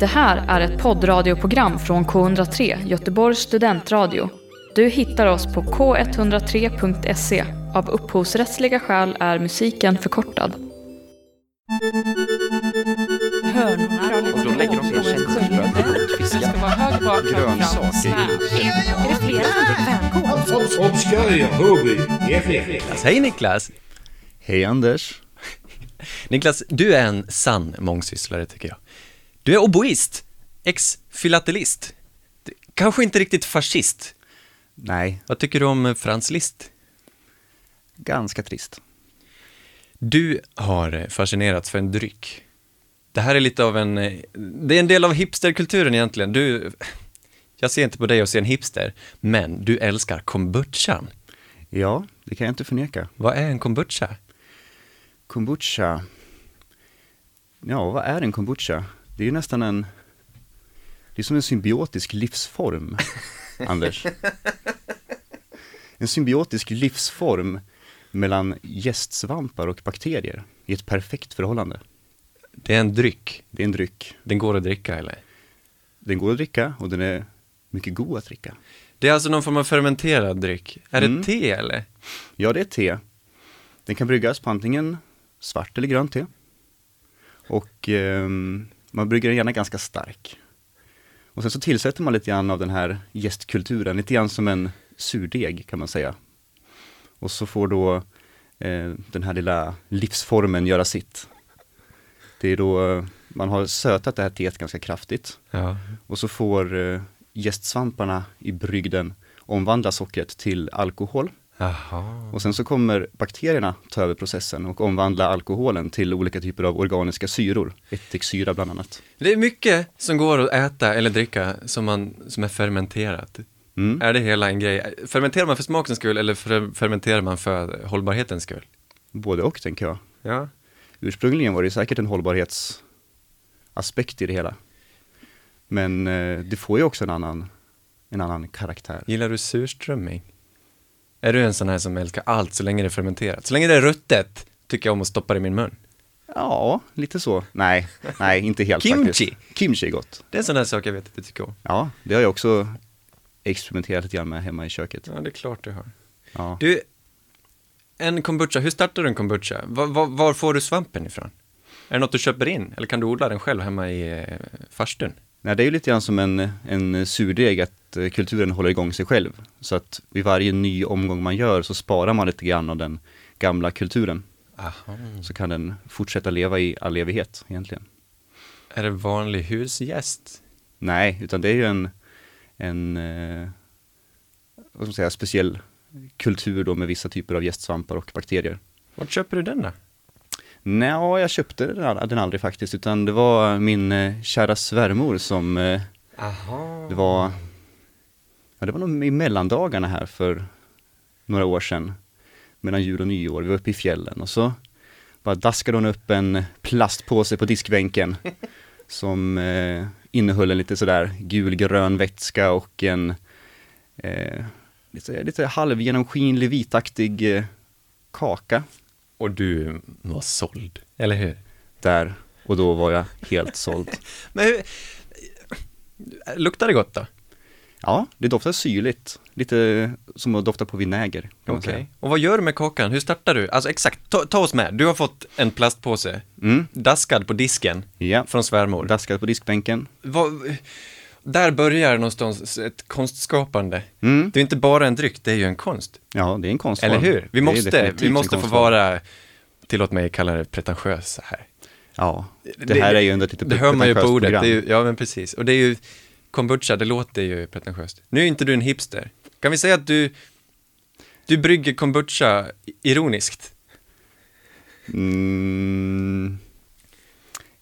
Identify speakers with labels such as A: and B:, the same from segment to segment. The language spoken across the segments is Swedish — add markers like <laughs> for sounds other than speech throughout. A: Det här är ett poddradioprogram från K103, Göteborgs studentradio. Du hittar oss på k103.se. Av upphovsrättsliga skäl är musiken förkortad.
B: Och då lägger de sina känselspröt i rotfiskar. Grönsaker.
C: Obscurity of Hobby, FF.
D: Alltså, hej Niklas!
E: Hej Anders.
D: Niklas, du är en sann mångsysslare tycker jag. Du är oboist, ex-filatelist, Du- kanske inte riktigt fascist.
E: Nej,
D: Vad tycker du om eh, Franz Liszt?
E: ganska trist.
D: Du har eh, fascinerats för en dryck. Det här är lite av en, eh, det är en del av hipsterkulturen egentligen. Du, jag ser inte på dig och ser en hipster, men du älskar kombuchan.
E: Ja, det kan jag inte förneka.
D: Vad är en kombucha?
E: Kombucha. Ja, vad är en kombucha? Det är ju nästan en... Det är som en symbiotisk <laughs> livsform, Anders. En symbiotisk livsform mellan gästsvampar och bakterier i ett perfekt förhållande.
D: Det är en dryck.
E: Det är en dryck.
D: Den går att dricka eller?
E: Den går att dricka och den är mycket god att dricka.
D: Det är alltså någon form av fermenterad dryck. Är det
E: Mm.
D: te eller?
E: Ja, det är te. Den kan bryggas på antingen svart eller grönt te. Och ehm, man brygger den gärna ganska stark. Och sen så tillsätter man lite grann av den här gästkulturen, lite grann som en surdeg kan man säga. Och så får då eh, den här lilla livsformen göra sitt. Det är då eh, man har sötat det här teet ganska kraftigt
D: Ja.
E: och så får eh, gästsvamparna i brygden omvandla sockret till alkohol.
D: Jaha.
E: Och sen så kommer bakterierna ta över processen och omvandla alkoholen till olika typer av organiska syror, ättiksyra bland annat.
D: Det är mycket som går att äta eller dricka som, man, som är fermenterat.
E: Mm.
D: Är det hela en grej? Fermenterar man för smakens skull eller fer- fermenterar man för hållbarhetens skull?
E: Både och tänker jag.
D: Ja.
E: Ursprungligen var det säkert en hållbarhetsaspekt i det hela. Men eh, det får ju också en annan, en annan karaktär.
D: Gillar du surströmming? Är du en sån här som älskar allt så länge det är fermenterat? Så länge det är ruttet tycker jag om att stoppa det i min mun.
E: Ja, lite så. Nej, nej, inte helt
D: Kimchi.
E: faktiskt. Kimchi är gott.
D: Det är en sån här sak jag vet att du tycker om.
E: Ja, det har jag också experimenterat lite grann med hemma i köket.
D: Ja, det är klart du har.
E: Ja.
D: Du, en kombucha, hur startar du en kombucha? Var, var, var får du svampen ifrån? Är det något du köper in eller kan du odla den själv hemma i eh, farstun?
E: Nej, det är ju lite grann som en, en surdeg att eh, kulturen håller igång sig själv. Så att vid varje ny omgång man gör så sparar man lite grann av den gamla kulturen.
D: Aha.
E: Så kan den fortsätta leva i all evighet egentligen.
D: Är det vanlig husgäst?
E: Nej, utan det är ju en, en eh, vad ska man säga, speciell kultur då med vissa typer av gästsvampar och bakterier.
D: Vart köper du den då?
E: Nej, jag köpte den, all- den aldrig faktiskt, utan det var min eh, kära svärmor som eh,
D: Aha.
E: Det var, ja, det var nog i mellandagarna här för några år sedan, mellan jul och nyår. Vi var uppe i fjällen och så bara daskade hon upp en plastpåse på diskbänken som eh, innehöll en lite sådär gulgrön vätska och en eh, lite, lite halvgenomskinlig vitaktig eh, kaka
D: Och du var såld, eller hur?
E: där. Och då var jag helt såld.
D: Men hur... Luktar det gott då?
E: Ja, det doftar syrligt. Lite som att dofta på vinäger. kan man säga.
D: Och vad gör du med kakan? Hur startar du? Alltså exakt, ta, ta oss med. Du har fått en plastpåse,
E: Mm.
D: daskad på disken,
E: Ja.
D: från svärmor.
E: Daskad på diskbänken.
D: Vad- där börjar någonstans ett konstskapande.
E: Mm.
D: Det är inte bara en dryck, det är ju en konst.
E: Ja, det är en konstform.
D: Eller hur?
E: Det
D: Vi
E: är
D: måste,
E: definitivt
D: vi
E: en
D: måste få
E: konstform.
D: vara, tillåt mig kalla det pretentiösa här.
E: Ja, det här är ju ändå ett lite
D: Det hör man ju på
E: pretentiöst
D: ordet. Det är
E: program.
D: ju, ja, men precis. Och det är ju, kombucha, det låter ju pretentiöst. Nu är inte du en hipster. Kan vi säga att du, du brygger kombucha ironiskt?
E: Mm,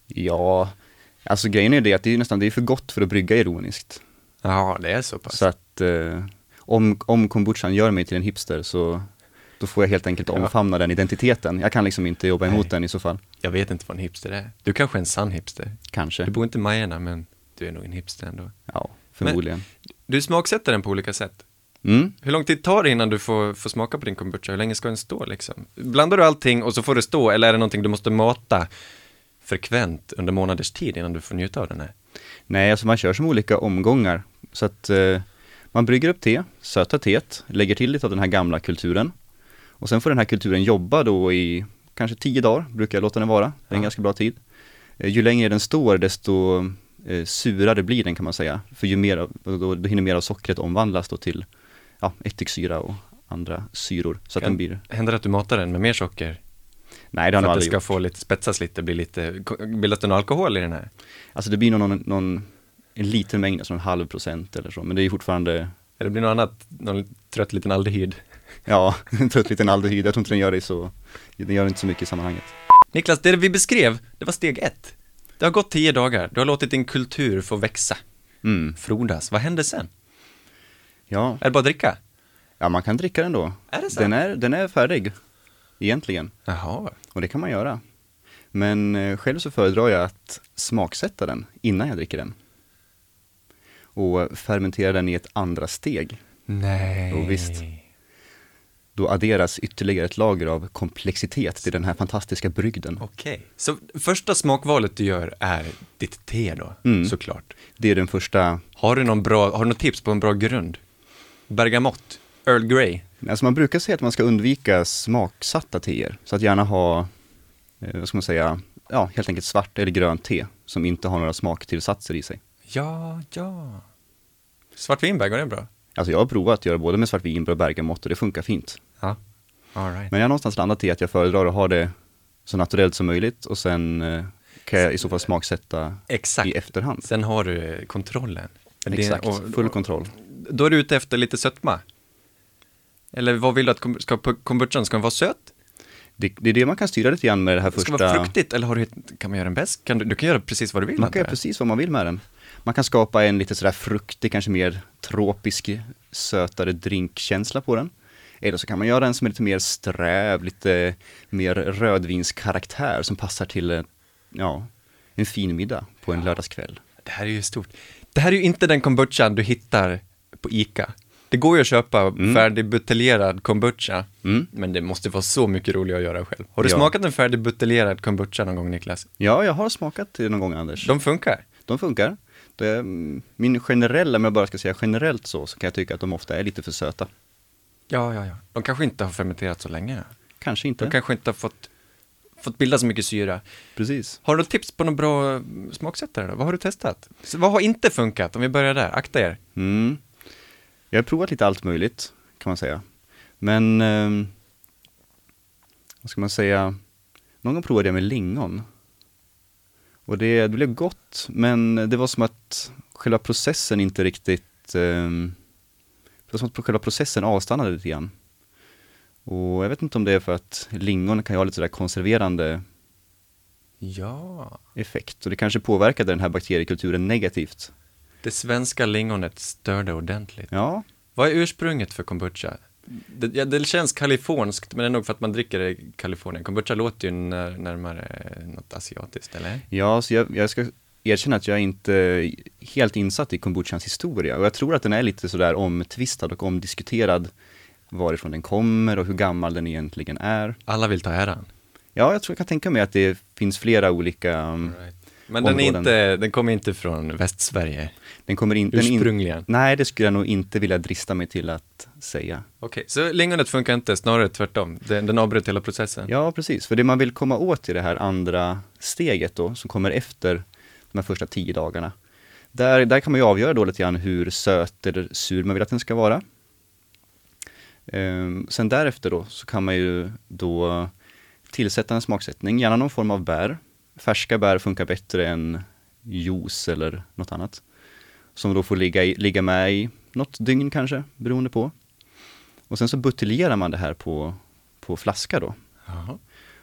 E: ja, alltså grejen är det att det är ju nästan, det är för gott för att brygga ironiskt.
D: Ja, det är så pass.
E: Så att eh, om, om kombuchan gör mig till en hipster så då får jag helt enkelt omfamna den identiteten. Jag kan liksom inte jobba emot den i så fall.
D: Jag vet inte vad en hipster är. Du kanske är en sann hipster. Du
E: Kanske.
D: bor inte i Majerna, men du är nog en hipster ändå.
E: Ja, förmodligen.
D: Du smaksätter den på olika sätt.
E: Mm.
D: Hur lång tid tar det innan du får, får smaka på din kombucha? Hur länge ska den stå liksom? Blandar du allting och så får det stå, eller är det någonting du måste mata frekvent under månaders tid innan du får njuta av den här?
E: Nej, alltså man kör som olika omgångar. Så att eh, man brygger upp te, sötar teet, lägger till lite av den här gamla kulturen. Och sen får den här kulturen jobba då i kanske tio dagar, brukar jag låta den vara. Det är en ganska bra tid. Eh, ju längre den står, desto eh, surare blir den kan man säga. För ju mer, av- då, då hinner mer av sockret omvandlas då till ja, ättiksyra och andra syror. Så att den blir,
D: Händer det att du matar den med mer socker?
E: nej det har
D: För
E: jag nog
D: att det
E: aldrig
D: ska
E: gjort.
D: få lite, spetsas lite, bli lite, bildas det någon alkohol i den här?
E: Alltså det blir nog någon, någon, en liten mängd, alltså en halv procent eller så, men det är ju fortfarande
D: Eller blir det något annat, någon trött liten aldehyd?
E: Ja, <laughs> en trött liten aldehyd. Jag tror inte den gör det så, den gör inte så mycket i sammanhanget.
D: Niklas, det vi beskrev, det var steg ett. Det har gått tio dagar, du har låtit din kultur få växa,
E: Mm.
D: frodas. Vad händer sen?
E: Ja.
D: Är det bara att dricka?
E: ja, man kan dricka den då.
D: Är det så?
E: Den är, den är färdig, egentligen.
D: Jaha.
E: Och det kan man göra. Men eh, själv så föredrar jag att smaksätta den innan jag dricker den. Och fermentera den i ett andra steg.
D: Nej.
E: Jo, visst. Då adderas ytterligare ett lager av komplexitet till den här fantastiska brygden.
D: Okej. Så första smakvalet du gör är ditt te då,
E: Mm.
D: såklart.
E: Det är den första
D: Har du någon bra, har du något tips på en bra grund? Bergamott? Earl Grey?
E: Alltså man brukar säga att man ska undvika smaksatta teer, så att gärna ha, eh, vad ska man säga, ja helt enkelt svart eller grönt te som inte har några smaktillsatser i sig.
D: Ja, ja. Svart vinbär, går det bra?
E: Alltså jag har provat att göra både med svart vinbröd och bergamott och det funkar fint.
D: Ja. All right.
E: Men jag har någonstans landat i att jag föredrar att ha det så naturellt som möjligt och sen eh, kan jag i så fall smaksätta
D: Exakt.
E: i efterhand.
D: Sen har du eh, kontrollen. Men det-
E: Exakt,
D: och-
E: full
D: och-
E: kontroll.
D: Då är du ute efter lite sötma? Eller vad vill du att kom- ska, på- kombuchan, ska den vara söt?
E: Det, det är det man kan styra lite grann med det här första...
D: Ska den vara fruktigt? Eller har du, ett- kan man göra den bäst? Kan du, du kan göra precis vad du vill.
E: Man
D: antar
E: kan
D: jag.
E: göra precis vad man vill med den. Man kan skapa en lite sådär fruktig, kanske mer tropisk, sötare drinkkänsla på den. Eller så kan man göra en som är lite mer sträv, lite mer rödvinskaraktär som passar till eh, ja, en fin middag på en lördagskväll.
D: Det här är ju stort. Det här är ju inte den kombuchan du hittar på ICA. Det går ju att köpa färdigbuteljerad kombucha,
E: Mm.
D: men det måste vara så mycket roligare att göra själv. Har du
E: Ja.
D: smakat en färdigbuteljerad kombucha någon gång, Niklas?
E: Ja, jag har smakat det någon gång Anders.
D: De funkar.
E: De funkar. Det, mm, min generella, om jag bara ska säga generellt så, så kan jag tycka att de ofta är lite för söta.
D: Ja, ja, ja. De kanske inte har fermenterat så länge.
E: Kanske
D: De
E: inte.
D: kanske inte har fått, fått bilda så mycket syra.
E: Precis.
D: Har du något tips på någon bra eh, smaksättare då? Vad har du testat? Så vad har inte funkat? Om vi börjar där, akta er.
E: Mm. Jag har provat lite allt möjligt, kan man säga. Men, ehm, vad ska man säga, någon gång provade jag med lingon. Och det, det blev gott, men det var som att själva processen inte riktigt, ehm, det var som att själva processen avstannade lite grann. Och jag vet inte om det är för att lingon kan ju ha lite sådär konserverande
D: Ja.
E: effekt. Och det kanske påverkade den här bakteriekulturen negativt.
D: Det svenska lingonet störde ordentligt.
E: Ja,
D: Vad är ursprunget för kombucha? Det, ja, det känns kaliforniskt, men det är nog för att man dricker det i Kalifornien. Kombucha låter ju när, närmare eh, något asiatiskt, eller?
E: Ja, så jag, jag ska erkänna att jag är inte helt insatt i kombuchans historia och jag tror att den är lite sådär omtvistad och omdiskuterad varifrån den kommer och hur gammal den egentligen är.
D: Alla vill ta äran.
E: Ja, jag tror jag kan tänka mig att det finns flera olika, um,
D: Men den, är
E: Områden.
D: inte, den kommer inte från Västsverige.
E: den kommer inte...
D: Ursprungligen.
E: In, nej, det skulle jag nog inte vilja drista mig till att säga.
D: Okej, så lingonet funkar inte, snarare tvärtom. Den, den avbröt hela processen.
E: Ja, precis, för det man vill komma åt i det här andra steget då, som kommer efter de här första tio dagarna, där, där kan man ju avgöra då lite grann hur söt eller sur man vill att den ska vara. Ehm, sen därefter då så kan man ju då tillsätta en smaksättning, gärna någon form av bär. Färska bär funkar bättre än juice eller något annat. Som då får ligga, i, ligga med i något dygn kanske, beroende på. Och sen så buteljerar man det här på, på flaska då.
D: Jaha.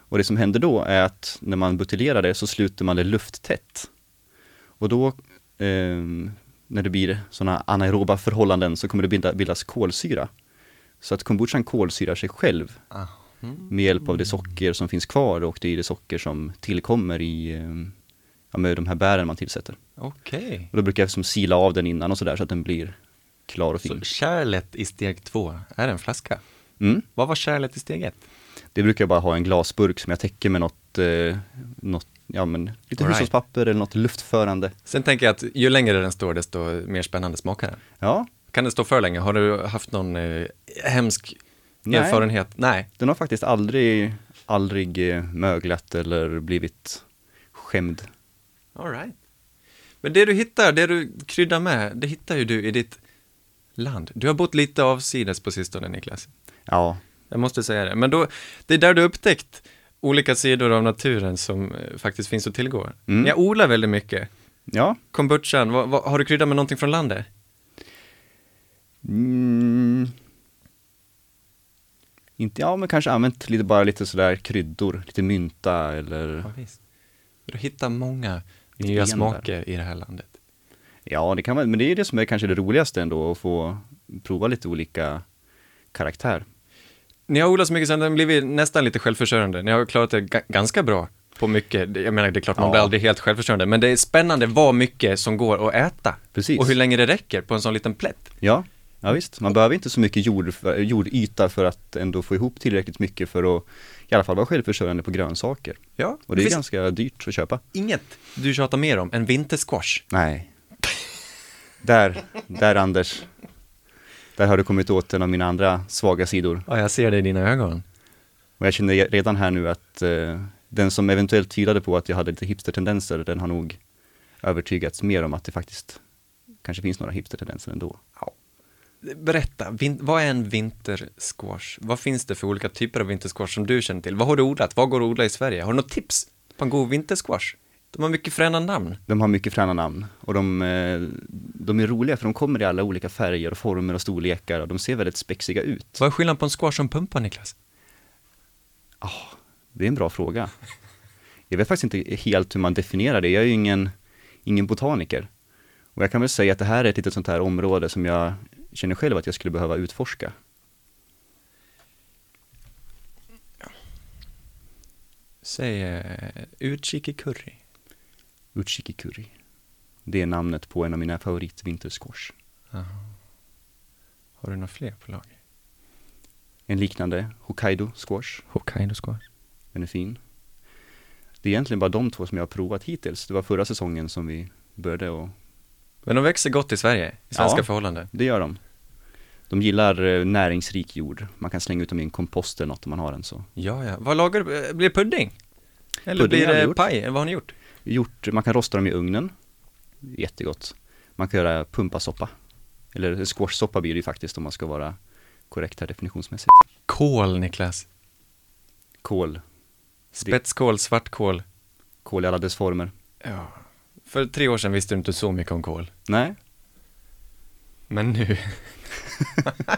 E: Och det som händer då är att när man buteljerar det så sluter man det lufttätt. Och då, ehm, när det blir sådana anaeroba förhållanden så kommer det bilda, bildas kolsyra. Så att kombuchan kolsyrar sig själv med hjälp av det socker som finns kvar och det är det socker som tillkommer i ehm, ja, med de här bären man tillsätter.
D: Okej.
E: Och då brukar jag som sila av den innan och sådär så att den blir klar och
D: Så
E: fin.
D: kärlet i steg två är en flaska.
E: Mm.
D: Vad var kärlet i steg ett?
E: Det brukar jag bara ha i en glasburk som jag täcker med något, eh, något ja, men lite
D: All right.
E: hushållspapper eller något luftförande.
D: Sen tänker jag att ju längre den står, desto mer spännande smakar den.
E: Ja,
D: Kan den stå för länge? Har du haft någon eh, hemsk
E: Nej.
D: erfarenhet? Nej.
E: den har faktiskt aldrig, aldrig eh, möglat eller blivit skämd.
D: All right. Men det du hittar, det du kryddar med, det hittar ju du i ditt land. Du har bott lite avsides på sistone, Niklas.
E: Ja,
D: Jag måste säga det. Men då, det är där du har upptäckt olika sidor av naturen som eh, faktiskt finns att tillgå.
E: Mm.
D: Jag odlar väldigt mycket.
E: ja,
D: Kombuchan, vad, vad, har du kryddat med någonting från landet?
E: Mm. Inte, ja men kanske använt lite, bara lite sådär kryddor, lite mynta eller,
D: visst. Du hittar många
E: Lite
D: nya
E: ben
D: smaker i det här landet.
E: ja det kan man, men det är det som är kanske det roligaste ändå, att få prova lite olika karaktär.
D: Ni har odlat så mycket så att den blivit nästan lite självförsörjande. Ni har klarat det ga- ganska bra på mycket. Det- Jag menar, det är klart man
E: Ja.
D: blir aldrig helt självförsörjande, men det är spännande vad mycket som går att äta.
E: Precis.
D: Och hur länge det räcker på en sån liten plätt.
E: Ja, ja visst, man behöver inte så mycket jord, för, jordyta för att ändå få ihop tillräckligt mycket för att i alla fall vara självförsörjande på grönsaker.
D: Ja,
E: Och det är
D: finns
E: ganska dyrt att köpa.
D: inget du tjatar mer om än vintersquash.
E: Nej. där, där Anders, där har du kommit åt en av mina andra svaga sidor.
D: Ja, jag ser det i dina ögon.
E: Och jag känner redan här nu att eh, den som eventuellt tvivlade på att jag hade lite hipstertendenser, den har nog övertygats mer om att det faktiskt kanske finns några hipstertendenser ändå.
D: Berätta, vin- vad är en vintersquash? Vad finns det för olika typer av vintersquash som du känner till? Vad har du odlat? Vad går att odla i Sverige? Har du något tips på en god vintersquash? De har mycket fräna namn.
E: De har mycket fräna namn och de, eh, de är roliga för de kommer i alla olika färger och former och storlekar och de ser väldigt spexiga ut.
D: Vad är skillnaden på en squash och en pumpa, Niklas?
E: Det är en bra fråga. Jag vet faktiskt inte helt hur man definierar det. Jag är ju ingen, ingen botaniker. Och jag kan väl säga att det här är ett litet sånt här område som jag känner själv att jag skulle behöva utforska.
D: Säg eh, utkik i curry.
E: Uchiki curry. Det är namnet på en av mina favoritvintersquash.
D: Har du några fler på lager?
E: En liknande Hokkaido squash.
D: Hokkaido squash.
E: Den är fin. Det är egentligen bara de två som jag har provat hittills. Det var förra säsongen som vi började och
D: Men de växer gott i Sverige, i svenska
E: Ja.
D: förhållanden.
E: det gör de. De gillar eh, näringsrik jord. Man kan slänga ut dem i en kompost eller något om man har en så.
D: Ja, ja. Vad lagar du? Eh, Blir det pudding? Eller
E: Pudding har
D: blir
E: vi
D: det
E: gjort.
D: paj? Eller Vad har ni gjort?
E: Gjort, man kan rosta dem i ugnen. Jättegott. Man kan göra pumpasoppa. Eller squashsoppa blir det ju faktiskt om man ska vara korrekt här definitionsmässigt.
D: Kål, Niklas.
E: Kål.
D: Spetskål, svartkål.
E: Kål i alla dess former.
D: Ja. För tre år sedan visste du inte så mycket om kål.
E: Nej,
D: Men nu. <laughs> Vad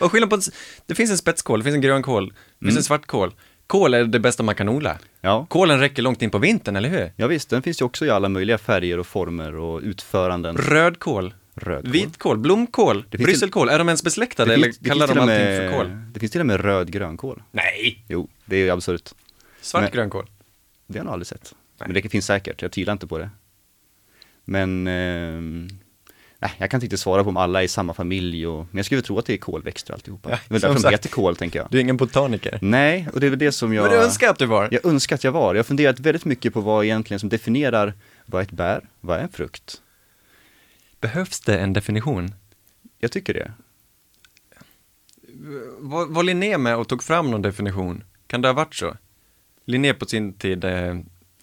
D: är skillnaden på... en s- Det finns en spetskål, det finns en grönkål, det finns en svartkål. Kål är det bästa man kan odla.
E: Mm. ja. Mm.
D: Kålen räcker långt in på vintern, eller hur?
E: Ja visst, den finns ju också i alla möjliga färger och former och utföranden.
D: Rödkål,
E: Rödkål.
D: vitkål, blomkål,
E: Det finns till-
D: brysselkål. Är de ens besläktade eller
E: finns-
D: kallar
E: finns
D: de
E: till och
D: allting
E: med-
D: för kål?
E: Det finns till och med röd grönkål.
D: Nej!
E: Jo, det är ju absurt.
D: Svart
E: Nej.
D: grönkål.
E: Det har jag nog aldrig sett. Men det finns säkert, jag tvivlar inte på det. Men, ehm, nej, jag kan inte svara på om alla är i samma familj och, men jag skulle väl tro att det är kålväxter alltihopa.
D: Ja,
E: det är väl
D: som
E: därför de
D: sagt.
E: heter kål, tänker jag.
D: är ingen botaniker.
E: Nej, och det är väl det som jag...
D: Men du önskar att du var?
E: Jag önskar att jag var. Jag har funderat väldigt mycket på vad egentligen som definierar vad är ett bär, vad är en frukt?
D: Behövs det en definition?
E: Jag tycker det.
D: Var, var Linné med och tog fram någon definition? Kan det ha varit så? Linné på sin tid, eh,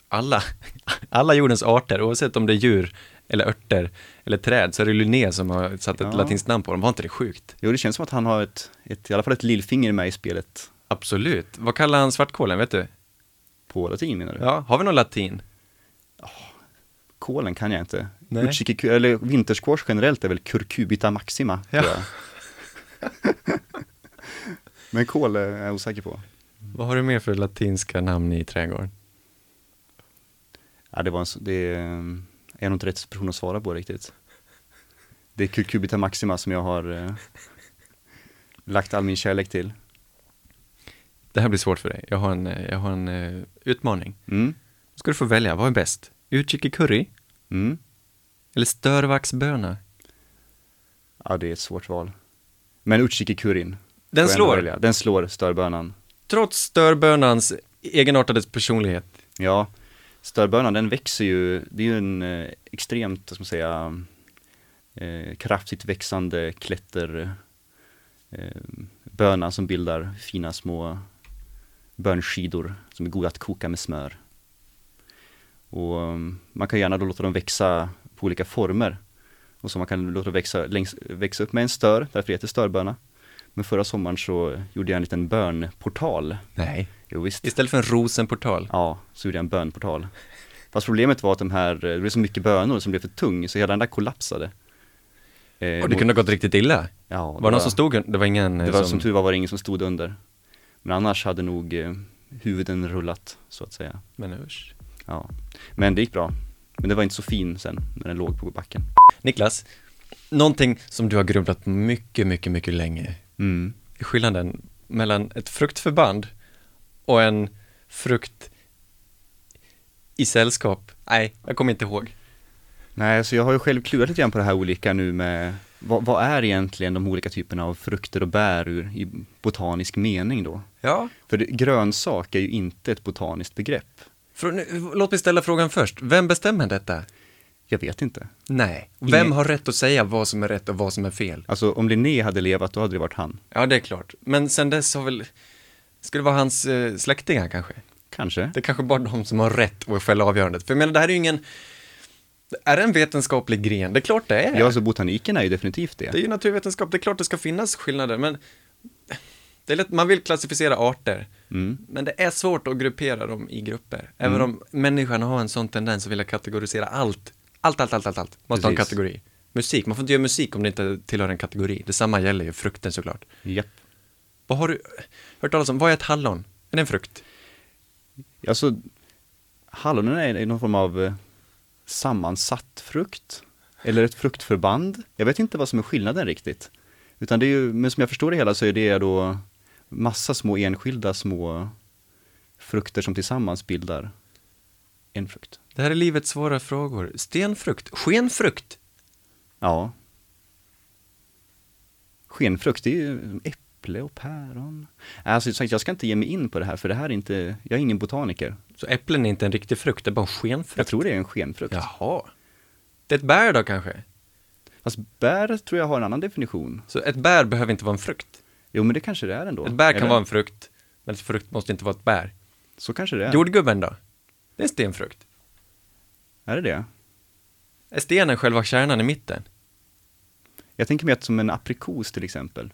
D: alla, <laughs> alla jordens arter, oavsett om det är djur eller örter eller träd, så är det Linné som har satt ett
E: Ja.
D: latinskt namn på dem. Var inte det sjukt?
E: Jo, det känns som att han har ett, ett i alla fall ett lillfinger med i spelet
D: Absolut. Vad kallar han svartkålen, vet du?
E: på latin menar du?
D: Ja, har vi någon latin?
E: Kålen kan jag inte.
D: Nej.
E: Utsiki, eller vintersquash generellt är väl curcubita maxima, tror jag.
D: <laughs>
E: Men kål är jag osäker på.
D: Vad har du mer för latinska namn i trädgården?
E: Ja, det var en, s- det är, ehm, jag är nog inte rätt person att svara på riktigt. Det är curcubita maxima som jag har eh, lagt all min kärlek till.
D: Det här blir svårt för dig. Jag har en, eh, jag har en eh, utmaning.
E: Mm.
D: Ska du få välja, vad är bäst? Utkik i curry
E: Mm.
D: eller störvaxböna?
E: Ja, det är ett svårt val. Men utsiki kurin.
D: Den
E: får jag ändå
D: slår.
E: välja. Den slår störbönan.
D: Trots störbönans egenartade personlighet.
E: Ja, Störbönan den växer ju, det är ju en eh, extremt, vad ska man säga, eh, kraftigt växande klätterböna eh, böna som bildar fina små bönskidor som är goda att koka med smör. Och um, man kan gärna då låta dem växa på olika former. Och så man kan låta dem växa, längs, växa upp med en stör, därför heter det störböna. Men förra sommaren så gjorde jag en liten bönportal.
D: Nej.
E: Jo, visst.
D: Istället för en rosenportal.
E: Ja, så gjorde jag en bönportal. Fast problemet var att de här, eh, det blev så mycket bönor som blev för tung, så hela den där kollapsade. Eh,
D: Och det kunde ha gått riktigt illa.
E: Ja, det
D: var det någon som stod Det var ingen eh,
E: Det var som tur var var det ingen som stod under. Men annars hade nog eh, huvuden rullat, så att säga.
D: Men usch.
E: Ja. Men det gick bra. Men det var inte så fin sen, när den låg på backen.
D: Niklas, någonting som du har grubblat mycket, mycket, mycket länge.
E: Mm.
D: är skillnaden mellan ett fruktförband och en frukt i sällskap? Nej, jag kommer inte ihåg.
E: Nej, så jag har ju själv klurat lite grann på det här olika nu med vad, vad är egentligen de olika typerna av frukter och bär ur, i botanisk mening då?
D: Ja.
E: För det, grönsak är ju inte ett botaniskt begrepp.
D: låt mig ställa frågan först. Vem bestämmer detta?
E: Jag vet inte.
D: Nej. Vem
E: Ingen-
D: har rätt att säga vad som är rätt och vad som är fel?
E: Alltså om Linné hade levat, då hade det varit han.
D: Ja, det är klart. Men sen dess har väl... Ska det vara hans eh, släktingar kanske?
E: Kanske.
D: Det är kanske bara de som har rätt att fälla avgörandet. För jag menar, det här är ju ingen... Är det en vetenskaplig gren? Det är klart det är.
E: Ja, alltså botaniken är ju definitivt det.
D: Det är ju naturvetenskap, det är klart det ska finnas skillnader, men det är lätt, man vill klassificera arter,
E: Mm.
D: men det är svårt att gruppera dem i grupper. Även om människan har en sån tendens att vilja kategorisera allt. Allt, allt, allt, allt, allt. Måste ha en
E: Precis.
D: kategori. Musik, man får inte göra musik om det inte tillhör en kategori. Detsamma gäller ju frukten såklart.
E: Japp.
D: Vad har du hört talas om? Vad är ett hallon? Är det en frukt?
E: Alltså, hallonen är är någon form av eh, sammansatt frukt. Eller ett fruktförband. Jag vet inte vad som är skillnaden riktigt. Utan det är ju, men som jag förstår det hela så är det då massa små enskilda små frukter som tillsammans bildar en frukt.
D: Det här är livets svåra frågor. Stenfrukt? Skenfrukt?
E: Ja. Skenfrukt, det är ju äpple och päron. Alltså som sagt, jag ska inte ge mig in på det här för det här är inte, jag är ingen botaniker.
D: Så äpplen är inte en riktig frukt, det är bara en skenfrukt?
E: Jag tror det är en skenfrukt.
D: Jaha. Det är ett bär då kanske?
E: Fast bär tror jag har en annan definition.
D: Så ett bär behöver inte vara en frukt?
E: Jo men det kanske det är ändå.
D: Ett bär kan
E: Eller?
D: vara en frukt, men ett frukt måste inte vara ett bär.
E: Så kanske det är.
D: Jordgubben då? Det är en stenfrukt.
E: Är det det?
D: Är stenen själva kärnan i mitten?
E: Jag tänker mig att som en aprikos till exempel.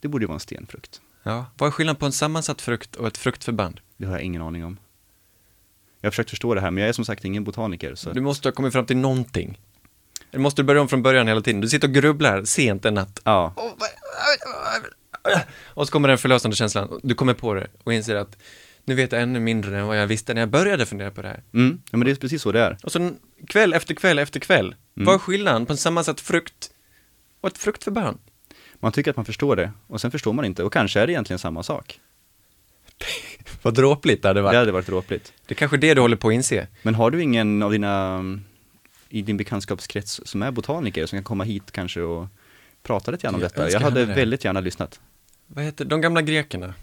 E: Det borde ju vara en stenfrukt.
D: Ja. Vad är skillnaden på en sammansatt frukt och ett fruktförband?
E: Det har jag ingen aning om. Jag har försökt förstå det här men jag är som sagt ingen botaniker så
D: Du måste ha kommit fram till någonting. Eller måste du börja om från början hela tiden? Du sitter och grubblar sent en natt.
E: ja.
D: Och så kommer den förlösande känslan. Du kommer på det och inser att nu vet jag ännu mindre än vad jag visste när jag började fundera på det här.
E: Mm. ja, men det är precis så det är.
D: Och sen kväll efter kväll efter kväll. Vad är skillnaden på en sammansatt frukt och ett fruktförband?
E: Man tycker att man förstår det och sen förstår man inte och kanske är det egentligen samma sak.
D: Vad dråpligt det hade varit.
E: Det hade varit dråpligt.
D: Det är kanske är det du håller på att inse.
E: Men har du ingen av dina mm, i din bekantskapskrets som är botaniker som kan komma hit kanske och prata lite grann om
D: Jag
E: detta?
D: önskar
E: Jag hade
D: henne det.
E: väldigt gärna lyssnat.
D: Vad heter de gamla grekerna?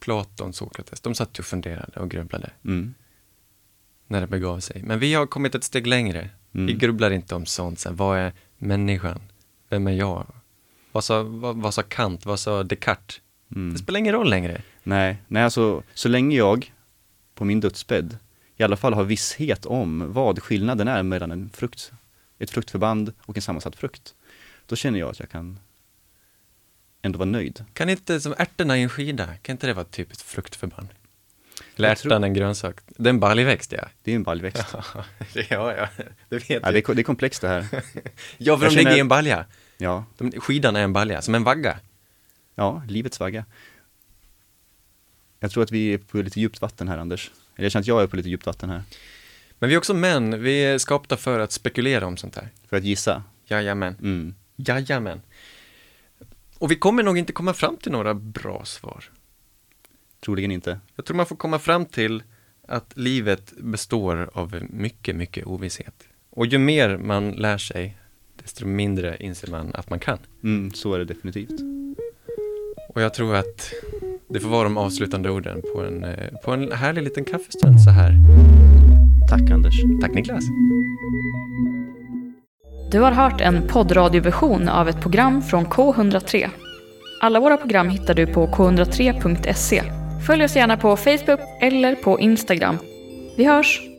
D: Platon, Sokrates, de satt ju och funderade och grubblade
E: Mm.
D: när det begav sig. Men vi har kommit ett steg längre. Vi grubblar inte om sånt. Sen. Vad är människan? Vem är jag? Vad sa, vad, vad sa Kant? Vad sa Descartes? Det spelar ingen roll längre.
E: Nej, nej alltså så länge jag på min dödsbädd i alla fall har visshet om vad skillnaden är mellan en frukt, ett fruktförband och en sammansatt frukt. Då känner jag att jag kan ändå vara nöjd.
D: Kan inte, som ärtorna i en skida, kan inte det vara ett typiskt fruktförband? Eller
E: Jag
D: ärtan
E: tror-
D: en grönsak. Det är en baljväxt, ja.
E: Det är ju en
D: <laughs>
E: baljväxt.
D: ja, ja, det vet
E: Ja, det, är, ko- det är komplext det här.
D: Ja, för
E: Jag
D: de ligger i
E: känner-
D: en balja.
E: Ja,
D: De, skidan är en balja, som en vagga.
E: ja, livets vagga. Jag tror att vi är på lite djupt vatten här Anders. Eller jag känner att jag är på lite djupt vatten här.
D: Men vi är också män, vi är skapta för att spekulera om sånt här.
E: För att gissa.
D: Jajamän.
E: Mm.
D: Jajamän. Och vi kommer nog inte komma fram till några bra svar.
E: Troligen inte.
D: Jag tror man får komma fram till att livet består av mycket, mycket ovisshet. Och ju mer man lär sig, desto mindre inser man att man kan.
E: Mm, så är det definitivt.
D: Och jag tror att Det får vara de avslutande orden på en, eh, på en härlig liten kaffestund så här.
E: Tack Anders.
D: Tack Niklas!
A: Du har hört en poddradioversion av ett program från K103. Alla våra program hittar du på k103.se. Följ oss gärna på Facebook eller på Instagram. Vi hörs!